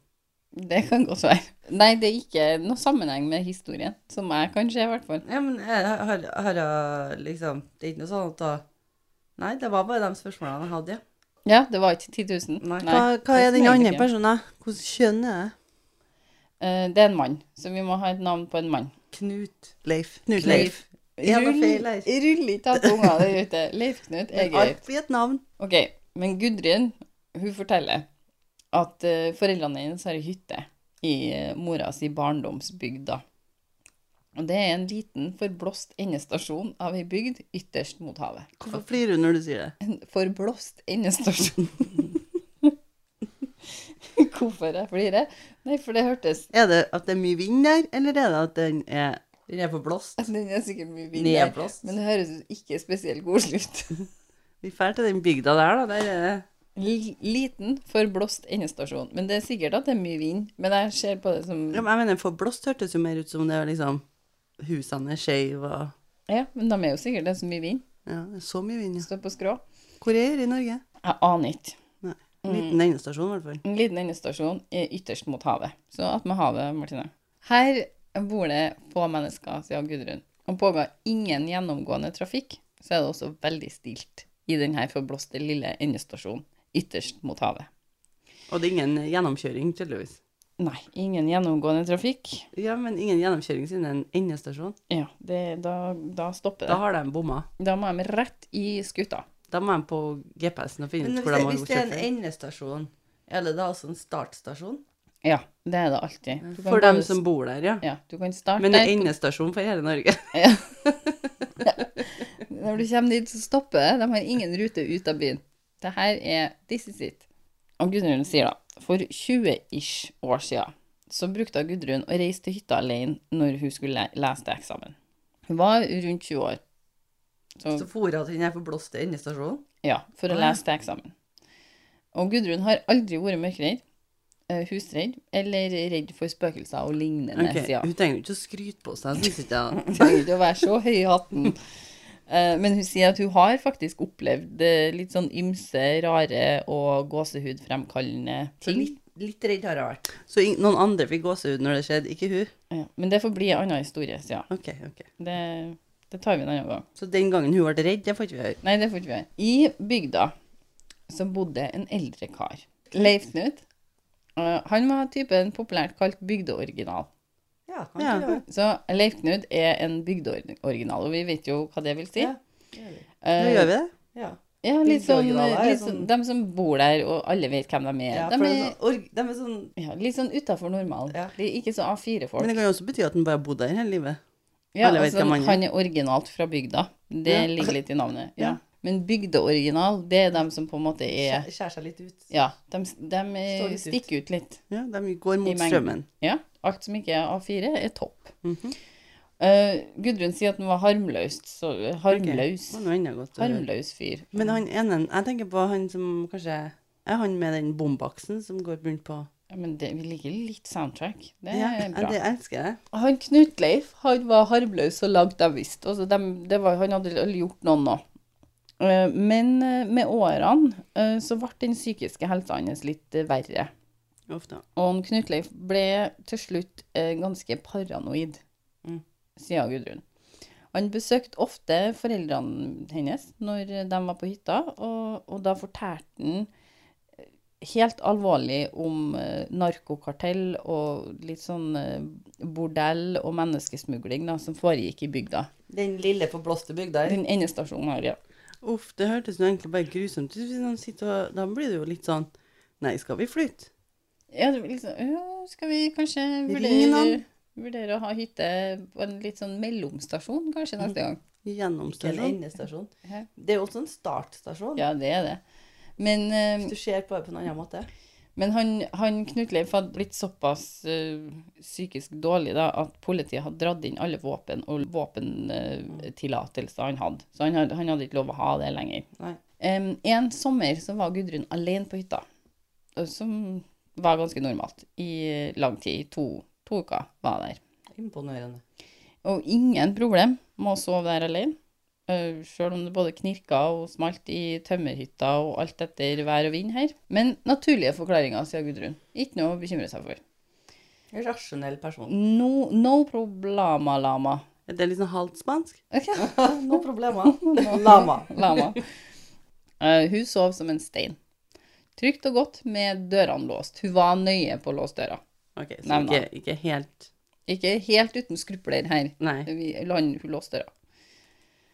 Det kan godt være. Nei, det er ikke noe sammenheng med historien, som jeg kan se, i hvert fall.
Ja, men jeg har, har jeg liksom Det er ikke noe sånn at da Nei, det var bare de spørsmålene jeg hadde, ja.
Ja, det var ikke 10 000.
Nei.
Nei,
Hva, hva er
det
den
mener
andre
ikke.
personen? Hvilket kjønn er det?
Eh, Det er en mann, så vi må ha et navn på en mann.
Knut.
Leif. Knut
Leif. Ja, det var
Rull,
feil her.
rull ikke av tunga der ute. Leif Knut er
Men
greit.
Alt blir et navn.
Ok, men Gudrun, hun forteller at eh, foreldrene hennes har ei hytte i eh, mora si barndomsbygd, da. Og det er en liten, forblåst endestasjon av ei bygd ytterst mot havet.
Hvorfor flirer du når du sier det?
En forblåst endestasjon. Hvorfor jeg flirer? Nei, for det hørtes
Er det at det er mye vind der, eller er det at den er
Den er for blåst.
Den er sikkert mye villere,
Nedblåst.
men det høres ikke spesielt koselig ut.
Vi drar til den bygda der, da. Der er det
L- Liten, forblåst endestasjon. Men det er sikkert at det er mye vind, men jeg ser på det som
ja, men Jeg mener, for blåst hørtes jo mer ut som det var liksom Husene er skeive og
Ja, men de er jo sikkert det som vi vinner.
Ja, det er så mye vind, ja.
Står på skrå.
Hvor er det i Norge?
Jeg aner ikke.
Nei.
Mm.
En liten endestasjon, i hvert fall.
En liten endestasjon er ytterst mot havet. Så at med havet, Martine. Her bor det få mennesker, sier Gudrun. Og pågår ingen gjennomgående trafikk, så er det også veldig stilt i denne forblåste lille endestasjonen ytterst mot havet.
Og det er ingen gjennomkjøring, tydeligvis.
Nei, ingen gjennomgående trafikk.
Ja, men ingen gjennomkjøring siden det er en endestasjon.
Ja, det, da, da stopper
Da
det.
har de bomma.
Da må de rett i skuta.
Da må de på GPS-en og finne
Men hvis
ut hvor
det,
de har
hvis
gått
det er en
kjørt.
endestasjon, er det da også en startstasjon?
Ja, det er det alltid. Du kan
For
både
dem
s-
som bor der, ja.
Ja, du kan starte
Men det
der.
er endestasjon for hele Norge.
Når du kommer dit, så stopper det. De har ingen rute ut av byen. Det her er This is it. Og Gudrun sier da For 20-ish år siden så brukte hun Gudrun å reise til hytta alene når hun skulle le- lese til eksamen. Hun var rundt 20 år. Så,
Så fôrer at den er for blåst til endestasjonen?
ja, for å lese til eksamen. Og Gudrun har aldri vært mørkredd, eh, husredd eller redd for spøkelser og lignende,
Ok,
sier hun.
Hun trenger jo ikke å skryte på seg, synes ikke jeg.
trenger ikke å være så høy i hatten. Eh, Men hun sier at hun har faktisk opplevd eh, litt sånn ymse, rare og gåsehudfremkallende
Så
ting.
litt, litt redd har jeg vært.
Så ing- noen andre fikk gåsehud når det skjedde, ikke hun.
Ja, Men det får bli en annen historie, sier hun.
Ok, ok.
Det, det tar vi en annen gang.
Så den gangen hun ble redd, det får ikke vi høre.
Nei, det får ikke vi gjøre. I bygda så bodde en eldre kar. Leif Knut. Eh, Han var typen populært kalt bygdeoriginal.
Ja,
Ja.
kanskje
Så Leif Knut er en bygdeoriginal, og vi vet jo hva det vil si.
Ja. det var det.
Nå
Eh,
gjør vi det.
Ja.
Ja, litt sånn,
Bygdeoriginaler er
litt
sånn-
sånn De som bor der, og alle vet hvem de er.
Ja,
de
for det
er
er sånn, org, de er sånn
ja, litt sånn utafor normalen.
Ja.
De er ikke så
Men
A4-folk.
det kan jo også bety at den bare bodde der hele livet.
Ja,
alle vet
altså,
hvem han er.
han er originalt fra bygda. Det
Ja.
ligger litt i navnet. Ja.
Ja.
Men bygdeoriginal, det er dem som på en måte er
skjærer skjærer seg litt ut.
Ja, de, de eh,
Står litt ut.
stikker ut litt.
Ja, de går
I
mot
mengden.
strømmen.
Ja, alt som ikke er A4, er topp.
Mhm.
Eh, Gudrun sier at han var harmløst. Så, eh, harmløs.
Det var noe annet godt å høre.
Harmløs fyr.
Men han ene, jeg tenker på han som kanskje, er han med den bombaksen som går rundt på?
Ja, men det, vi liker litt soundtrack. Det
Ja,
er
ja,
bra.
det elsker jeg.
Han Knutleif han var harmløs så langt jeg visste. Altså, dem- det var, han hadde aldri gjort noen nå. Eh, Men eh, med årene eh, så ble den psykiske helsa hans litt eh, verre.
Ofte.
Og han Knutleif ble til slutt eh, ganske paranoid,
Mm.
sier Gudrun. Han besøkte ofte foreldrene hennes når de var på hytta, og, og da fortalte han eh, helt alvorlig om eh, narkokartell og litt sånn eh, bordell og menneskesmugling da, som foregikk i bygda.
Den lille forblåste bygda her.
Den endestasjonen her, ja.
Uff, det hørtes jo egentlig bare grusomt ut. hvis han sitter og- Da blir det jo litt sånn Nei, skal vi flytte?
Ja, det var liksom, ja, skal vi kanskje
Ring
vurdere,
noen.
vurdere å ha hytte på en litt sånn mellomstasjon kanskje
Mhm.
neste gang?
Gjennom
Ikke en
stasjonen.
endestasjon.
Hæ?
Det er jo også en startstasjon,
Ja, det er det. Men, eh,
hvis du ser på det på en annen måte.
men han, han Knut Leif hadde blitt såpass eh, psykisk dårlig da, at politiet hadde dratt inn alle våpen og våpentillatelser han hadde. Så han hadde, han hadde ikke lov å ha det lenger.
Nei.
Em, en sommer så var Gudrun alene på hytta, og som var ganske normalt i eh, lang tid. To, to uker var jeg der.
Imponerende.
Og ingen problem med å sove der alene. eh, Selv om det både knirka og smalt i tømmerhytta og alt etter vær og vind her. Men naturlige forklaringer, sier Gudrun. Ikke noe å bekymre seg for.
En rasjonell person.
No, no problema, lama.
Er det litt sånn halvt spansk?
Ok.
No problemer. Lama.
Lama. Eh, hun sov som en stein. Trygt og godt med dørene låst. Hun var nøye på å låse døra.
Ok, så
Nei, nei.
ikke, ikke helt
Ikke helt uten skrupler her.
Nei.
Vi land hun låste døra.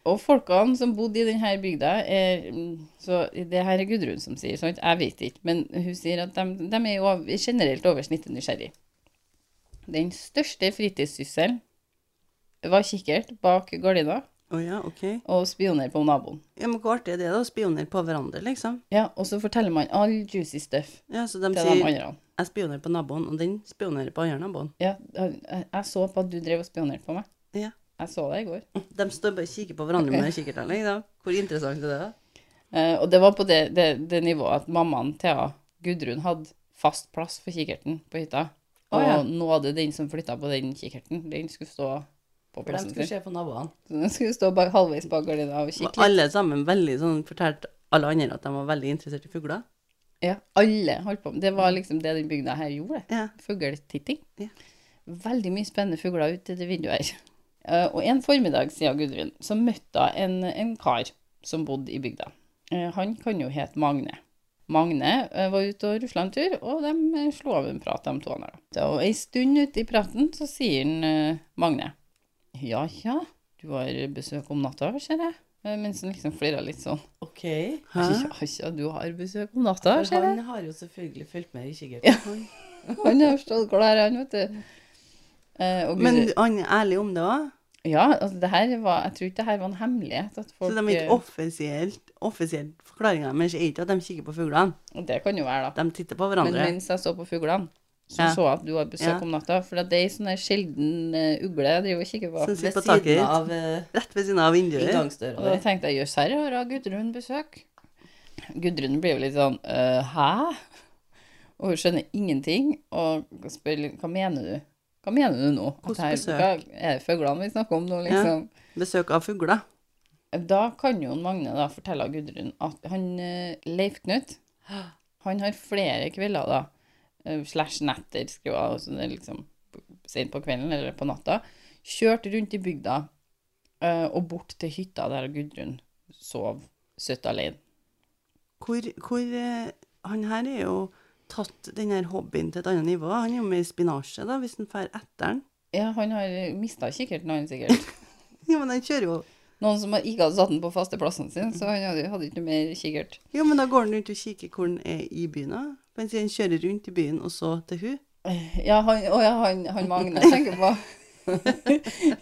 Og folkene som bodde i denne bygda er, mm, Så det her er Gudrun som sier, sant? Jeg vet ikke, men hun sier at de, de er jo av- generelt over snittet nysgjerrig. Den største fritidssysselen var kikkert bak gardina
Å ja, ok.
og spioner på naboen.
Ja, men Hvor artig er det, da? Spioner på hverandre, liksom.
Ja, og så forteller man all juicy stuff
Ja, Så de
til de
sier
andre.
'jeg spioner på naboen', og den spionerer på andre naboen.
Ja, jeg jeg så på at du drev og spionerte på meg.
Ja.
Jeg så det i går.
De står bare og kikker på hverandre med kikkertene. ikke sant? Hvor interessant er det? da?
Eh, og det var på det, det, det nivået at mammaen Thea Gudrun hadde fast plass for kikkerten på hytta.
Å,
Og
ja.
nå hadde den som flytta på den kikkerten, den skulle stå på
For de
plassen
skulle
sin.
se på naboene.
Så den skulle stå bak, halvveis bak gardina og
Var
kikke litt.
alle sammen veldig sånn fortalte alle andre at de var veldig interessert i fugler?
Ja, alle holdt på med det. var liksom det den bygda her gjorde.
Ja.
Fugletitting.
Ja.
Veldig mye spennende fugler ute i det vinduet her. Eh, og en formiddag, sier Gudrun, så møtte hun en, en kar som bodde i bygda. Eh, han kan jo hete Magne. Magne eh, var ute og rusla en tur, og de eh, slo av en prat, de to. han her, da. Og ei stund ute i praten så sier han, eh, Magne Ja, ja, du har besøk om natta, ser jeg. Eh, Mens han liksom flira litt sånn.
Ok.
Hæ?
Ja, ja, du har besøk om natta,
For
ser jeg.
han har jo selvfølgelig fulgt med i kikkerten.
Han har forstått hvor det er, han, vet du. Eh, og
Men
Gudrun-
han er ærlig om det òg?
ja, altså det her var, jeg tror ikke det her var en hemmelighet. At folk, eh,
Så de er ikke offisielt, offisielt forklaringa deres er ikke at de kikker på fuglene.
eh, det kan jo være, da.
De titter på
Men
hverandre.
mens jeg så på fuglene, så
Ja.
så jeg at du har besøk
Ja.
om natta. For at det er ei sånn her sjelden eh, ugle jeg driver og kikker på.
Som
Ved
sitter på taket
siden
ditt,
av eh,
rett ved siden av vinduet.
Og
inngangsdøra
da
der.
tenkte jeg jøss, her har hun Gudrun besøk. Gudrun blir jo litt sånn «Øh, hæ? Og hun skjønner ingenting og spør litt, hva mener du? Hva mener du nå? At
Hvordan
her-
besøk?
hva- Er det fuglene vi snakker om nå, liksom?
Besøk av fugler.
Da kan jo Magne da fortelle Gudrun at han eh, Leif Knut han har flere kvelder da, eh, slash netter, skriver han, altså det er liksom sent på kvelden eller på natta, kjørt rundt i bygda eh, og bort til hytta der Gudrun sov søtt alene.
Hvor, hvor eh, Han her er jo tatt den her hobbyen til et annet nivå. Han er jo med i spinasje, da, hvis han drar etter den.
Ja, han har mista kikkerten, han sikkert.
Jo, men han kjører jo
Noen som ikke hadde satt den på faste plassen sin, så han hadde, hadde ikke noe mer kikkert.
Jo, men da går han rundt og kikker hvor han er i byen, da. For han sier han kjører rundt i byen, og så til hun.
Ja, han, å ja, han, han Magne jeg tenker på.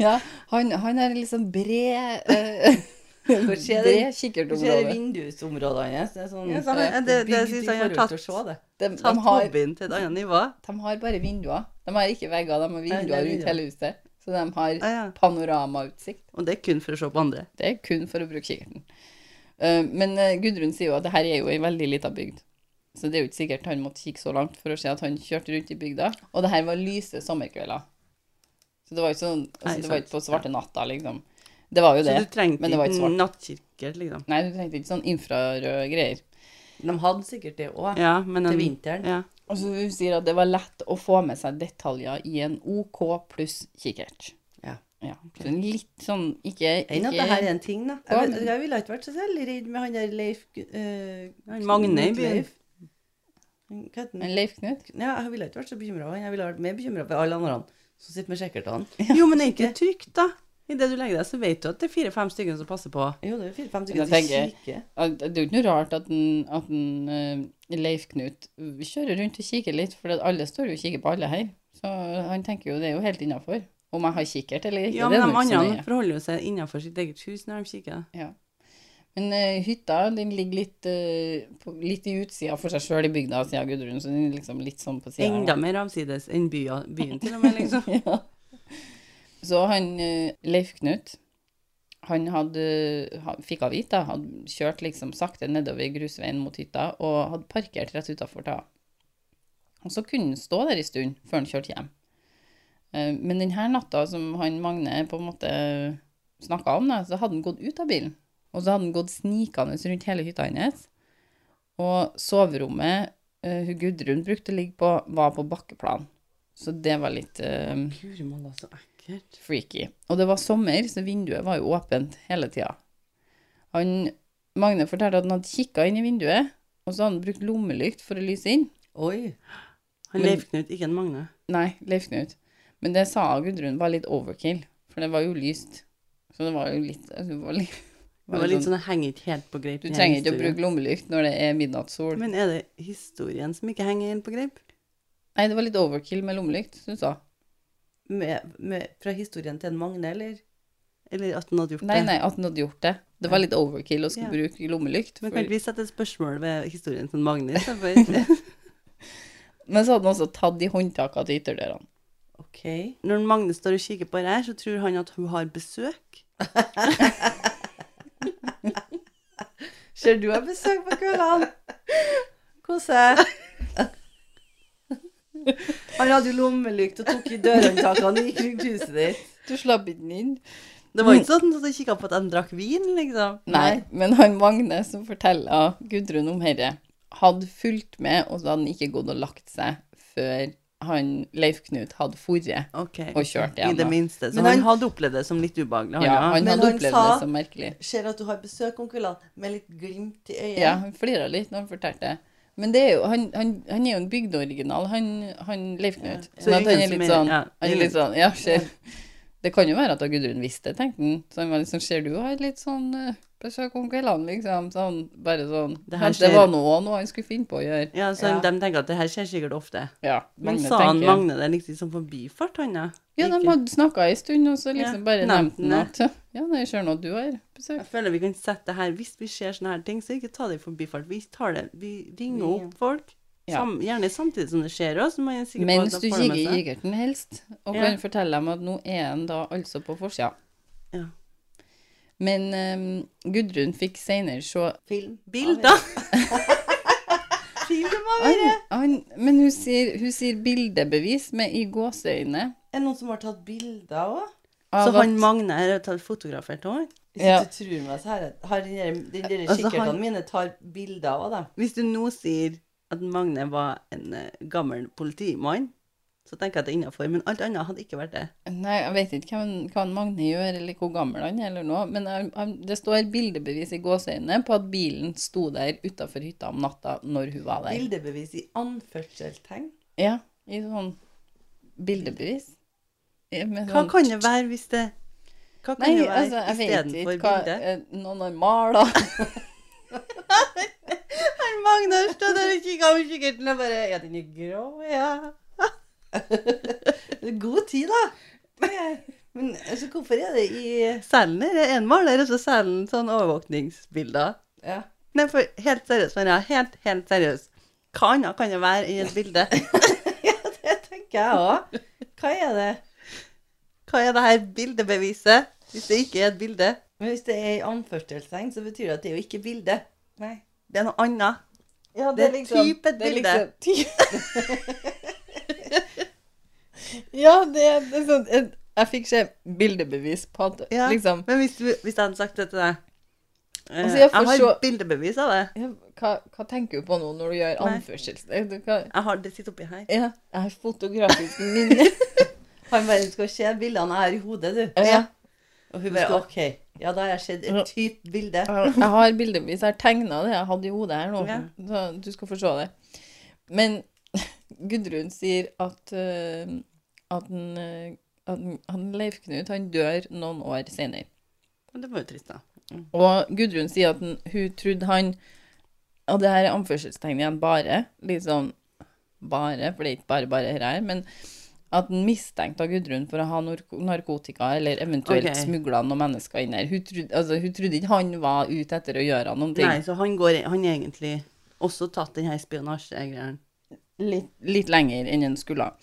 ja, han, han er liksom bred eh,
skjer det-
Bred
Du ser
kikkertområde.
vindusområdene hans. Det er sånn
Ja, så han, eh, det, det
bygd i
synes han har
forhold
tatt,
til å se det.
De, de,
tatt
har,
hobbyen til et annet nivå.
de har bare vinduer. De har ikke vegger, de har
det er
vinduer rundt
vinduer.
hele huset. Så de har
Ja, ja.
panoramautsikt.
Og det er kun for å se på andre.
Det er kun for å bruke kikkerten. Eh, Men eh, Gudrun sier jo at det her er jo ei veldig lita bygd. Så det er jo ikke sikkert han måtte kikke så langt for å se at han kjørte rundt i bygda. Og det her var lyse sommerkvelder. Så det var ikke sånn altså,
Nei,
Det var
sant.
ikke på svarte natta, liksom. Det var jo
Så
det.
du trengte
men det var ikke
ikke
svart.
nattkikkert, liksom.
Nei, du trengte ikke sånn infrarøde greier.
De hadde sikkert det òg.
Ja, men
Til
en-
vinteren.
Ja.
Og så hun sier at det var lett å få med seg detaljer i en OK pluss kikkert.
Ja.
ja. Så en litt sånn ikke,
Enn at
ikke
det her er en ting, da.
Ja,
Jeg,
men-
vil- jeg ville ikke vært så særlig redd med han der Leif eh,
Han Magne i byen.
Leif. Han- Hva heter han?
Men Leif Knut
Ja, jeg ville ikke vært så bekymra. Jeg ville vært mer bekymra for alle andre som sitter med kikkertene.
Jo, men det er ikke trygt, da. Idet du legger deg, så vet du at det er fire-fem stykker som passer på.
Jo, det er
Men
fire-fem stykker
jeg
som
tenker-
kikker.
Ja, Det det er jo ikke noe rart at, en, at en, eh, Leif Knut kjører rundt og kikker litt, for at alle står jo og kikker på alle her. Så han tenker jo det er jo helt innafor. Om jeg har kikkert eller ikke,
Ja,
det
men
er
de
nok så
andre
nøye.
forholder jo seg innenfor sitt eget hus når de kikker.
Ja. Men eh, hytta den ligger litt, eh, på, litt i utsida for seg sjøl i bygda, sier Gudrun. Så den er liksom litt sånn på sida.
Enda mer avsides enn byen, byen til og med, liksom.
ja. Så han eh, Leif Knut, han hadde, han fikk av vite, hadde kjørt liksom sakte nedover grusveien mot hytta og hadde parkert rett utafor ta. Og så kunne han stå der en stund før han kjørte hjem. Eh, Men denne natta som han Magne på en måte snakka om, da, så hadde han gått ut av bilen. Og så hadde han gått snikende rundt hele hytta hennes. Og soverommet eh, hun Gudrun brukte å ligge på, var på bakkeplan. Så det var litt eh,
Gurmalla, så ekkelt.
freaky. Og det var sommer, så vinduet var jo åpent hele tida. Han, Magne fortalte at han hadde kikka inn i vinduet, Og så hadde han brukt lommelykt for å lyse inn.
Oi.
Han
Men-
Leif Knut, ikke en Magne.
Nei, Leif Knut. Men det sa Gudrun var litt overkill, for det var jo lyst. Så det var jo litt altså, det var litt,
Det var litt sånn, det henger ikke helt på greip.
Du
i hele
trenger ikke å
historien.
bruke lommelykt når det er midnattssol.
Men er det historien som ikke henger helt på greip?
Nei, det var litt overkill med lommelykt, syns hun.
Med, med, fra historien til en Magne, eller?
Eller at han hadde gjort
Nei,
det?
nei, at han hadde gjort det. Det var litt overkill å skulle
Ja.
bruke lommelykt.
Men
for-
kan ikke vi sette et spørsmål ved historien til Magne? i stedet for-
Men så hadde han også tatt i håndtakene til ytterdørene.
OK.
Når Magne står og kikker på det her, så tror han at hun har besøk.
Ser du har besøk på kveldene? Kos deg. Han hadde jo lommelykt og tok i dørhåndtakene og gikk rundt huset ditt.
Du slapp ikke den inn?
Det var ikke sånn at han kikket på at de drakk vin, liksom.
Mm. Nei, men han Magne som forteller Gudrun om herre, hadde fulgt med, og så hadde han ikke gått og lagt seg før han Leif Knut hadde forret
Ok,
og kjørt
i
igjen.
det
da.
minste. Så
Men
han
han-
hadde opplevd det som litt ubehagelig.
Ja,
Han,
han
Men
hadde
han
opplevd
sa-
det som merkelig.
Ser at du har besøk om kveldene, med litt glimt i øyet.
Ja, han flira litt når han fortalte det. Men det er jo, han, han, han er jo en bygdeoriginal, han, han Leif Knut.
Så
Sånn at han
ingen
er
som
litt
er-
sånn,
ja,
han er
ingen-
litt sånn Ja, ser Det kan jo være at da Gudrun visste det, tenkte han. Så han var litt sånn Ser du har litt sånn eh, besøk om kveldene, liksom? Sånn, bare sånn
Det
Det,
her skjer-
var noe, noe han skulle finne på å gjøre.
ja, så
Ja.
de tenker at det her skjer sikkert ofte.
Ja,
Men
Magne
sa han
tenker-
Magne det liksom som forbifart, han da?
Ja, de
Ikke-
hadde snakka ei stund, og så
Ja,
liksom bare
nevnte
nevnte han
han
at Ja, nei, jeg ser nå at du har besøk.
Jeg føler vi kan sette det her, hvis vi ser sånne her ting, så ikke ta det i forbifart. Vi tar det, vi ringer
Vi-
opp folk,
Ja.
sam, gjerne samtidig som det skjer også, så man er sikker
Mens
på
du
at de får det
kikker
med
i
seg.
kikkerten, helst, og
Ja.
kan fortelle dem at nå er han da altså på forsida.
Ja.
Men ehm, Gudrun fikk seinere se
Film.
Bilder!
han, han, Men hun sier, hun sier bildebevis med i gåseøyne.
Er det noen som har tatt bilder òg?
av
Så han
at-
Magne her har tatt fotografert også.
Hvis
Ja.
du tror meg, så har jeg- har den der- den der
Altså, han-
kikkertene mine tar bilder av dem.
Hvis du nå sier at Magne var en eh, gammel politimann, så tenker jeg at det er innenfor, men alt annet hadde ikke vært det.
Nei, jeg vet ikke hva, han- hva han Magne gjør, eller hvor gammel han er, eller noe, men han, han, det står bildebevis i gåseøyne på at bilen sto der utafor hytta om natta når hun var der.
Bildebevis i anførselstegn.
Ja, i sånn bildebevis. Ja, med
Hva
sånn-
kan det være hvis det... Hva kan
Nei,
det være
altså, jeg vet
istedenfor
ikke hva
bildet?
eh, Noen har mala
Magne har stått der og kikka på kikkerten og bare Ja, den er grå, ja. Det er God tid, da. Det er- Men altså, hvorfor er det i
Selen her er en maler, og så selen sånn overvåkningsbilder.
Ja.
Nei, for helt seriøst, Maria. Helt, helt seriøst. Hva annet kan det være i et bilde?
Det tenker jeg òg. Hva er det?
Hva er det her bildebeviset? Hvis det ikke er et bilde,
Men hvis det er i anførselstegn, så betyr det at det er jo ikke bilde. Nei.
det er noe annet.
Ja,
Det er typ et
det er
bilde.
liksom- Ja, det er, det er sånn et, Jeg fikk se bildebevis på at
Ja.
liksom
Men hvis, du, hvis jeg hadde sagt det til deg eh,
Altså, jeg
Jeg
får
har
se-
bildebevis av det.
ja, hva, hva tenker du på nå når du gjør
Nei.
anførselstegn? Du kan-
Jeg har det sitter oppi her.
Ja, jeg har fotografisk minne.
Han bare Du skal se bildene jeg har i hodet, du.
Ja.
Og hun bare OK. Ja, da har jeg sett et type bilde.
Jeg har bildebevis. Jeg har tegna det jeg hadde i hodet her nå.
Ja.
Så du skal få se det. Men Gudrun sier at, eh, at, den, eh, at den- han Leif Knut han dør noen år senere.
Men Det var jo trist, da.
Og Gudrun sier at den, hun trodde han Og det her er anførselstegn igjen, bare. Litt sånn bare, for det er ikke bare bare her, her men at han mistenkte av Gudrun for å ha narko- narkotika eller eventuelt
Ok.
smugla noen mennesker inn der. Hun trodde, altså, hun trodde ikke han var ute etter å gjøre noen ting.
Nei, så han, går, han er egentlig også tatt den her spionasjegreia.
litt, litt lenger enn hun skulle.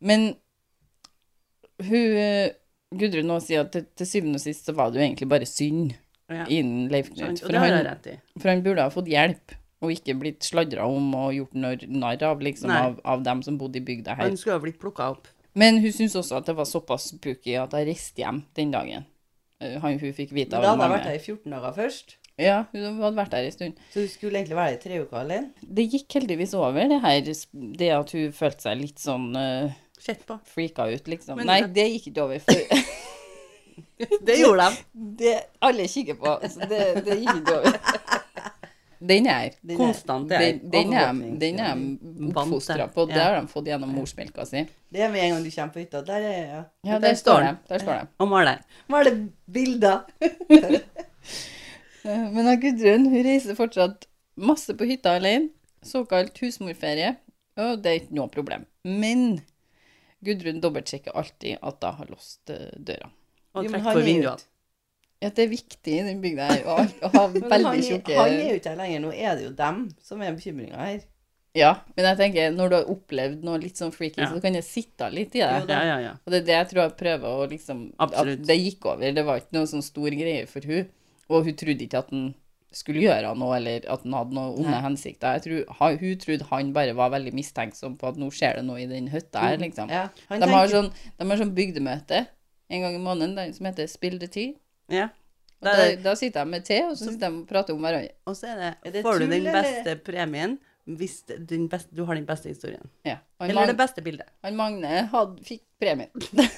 Men hun, eh, Gudrun nå sier at til, til syvende og sist så var det jo egentlig bare synd
Ja.
innen Leif
Så han-
Knut.
Og
For,
det har jeg
han-
rett i.
for han burde ha fått hjelp, og ikke blitt sladra om og gjort narr- narr av, liksom,
Nei.
av, av dem som bodde i bygda her.
Han skulle ha blitt plukka opp.
Men hun syntes også at det var såpass spooky at jeg reiste hjem den dagen. Eh, Han hun fikk vite
Da
av
hadde jeg
Magne.
vært her i 14 dager først.
Ja, hun hadde vært der en stund.
Så du skulle egentlig være her i tre uker alene.
Det gikk heldigvis over, det her, det at hun følte seg litt sånn eh,
Sett på.
freaka ut, liksom.
Men-
Nei, det gikk ikke over. For
Det gjorde de.
det alle kikker på, så det, det gikk ikke over. Den er jeg.
Den er-
Konstant er jeg.
Den, den er
overvåkning.
jeg- den er jeg
Vant
oppfostra
det.
på. Det
Ja.
har de fått gjennom morsmelka si.
Det er med en gang du kommer på hytta. Der er jeg.
Ja,
Der
der
står
står de. Der står de.
Og maler.
Male bilder.
Eh, Men da Gudrun hun reiser fortsatt masse på hytta alene. Såkalt husmorferie. Og det er ikke noe problem. Men Gudrun dobbeltsjekker alltid at hun har låst eh, døra.
Og
Jo, men
trekker
han
for
er jo-
vinduene.
Ja, det er viktig i den bygda her å ha- å ha
Men han,
veldig
er-
tjukke
han er jo ikke her lenger. Nå er det jo dem som er bekymringa her.
Ja, men jeg tenker, når du har opplevd noe litt sånn freaky,
Ja.
så kan jeg sitte litt i det.
Ja, ja, ja.
Og det er det jeg tror jeg prøver å liksom
Absolutt.
At det gikk over. Det var ikke noe sånn stor greie for hun Og hun trodde ikke at han skulle gjøre noe, eller at han hadde noen onde hensikter. Jeg tror, han- hun trodde han bare var veldig mistenksom på at nå skjer det noe i den hytta her, liksom.
Ja, han
De har
tenker-
sånn, de har sånn bygdemøte en gang i måneden der, som heter Spill the tea.
ja.
Og
Der-
da, da sitter de med te, og så sitter de og prater om hverandre.
Og så er det,
Er det
får du
tull,
den
eller?
beste premien hvis den beste, du har den beste historien.
Ja. Og en
Eller det
mann-
beste bildet.
Han Magne hadde, fikk premien.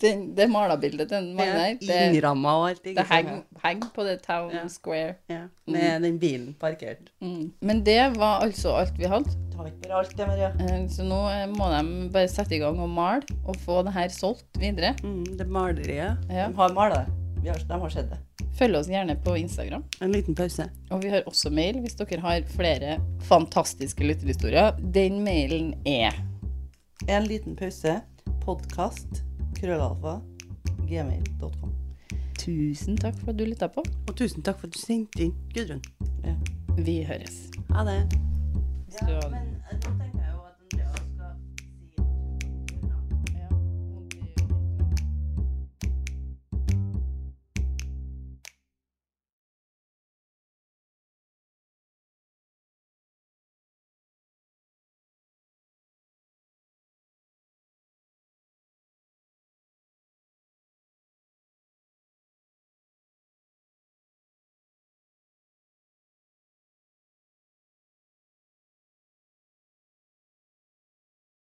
Den, det malerbildet til den Magne her, det,
Innramma og alt. ikke
det
sant?
henger heng på det Town
Ja.
Square.
Ja, med den bilen parkert.
Mm. Men det var altså alt vi hadde.
Tar ikke bare alt, det, Maria.
Eh, Så nå eh, må de bare sette i gang og male og få det her solgt videre.
Mm, det maleriet.
Ja.
De har malt det. Vi har, de har sett det.
Følg oss gjerne på Instagram.
En liten pause.
Og vi har også mail hvis dere har flere fantastiske lytterhistorier. Den mailen er
En liten pause. Podkast. Krøllalfa. Gmail.com.
Tusen takk for at du lytta på.
Og tusen takk for at du sendte inn, Gudrun.
Vi høres.
Ha det.
Så,
Men eh,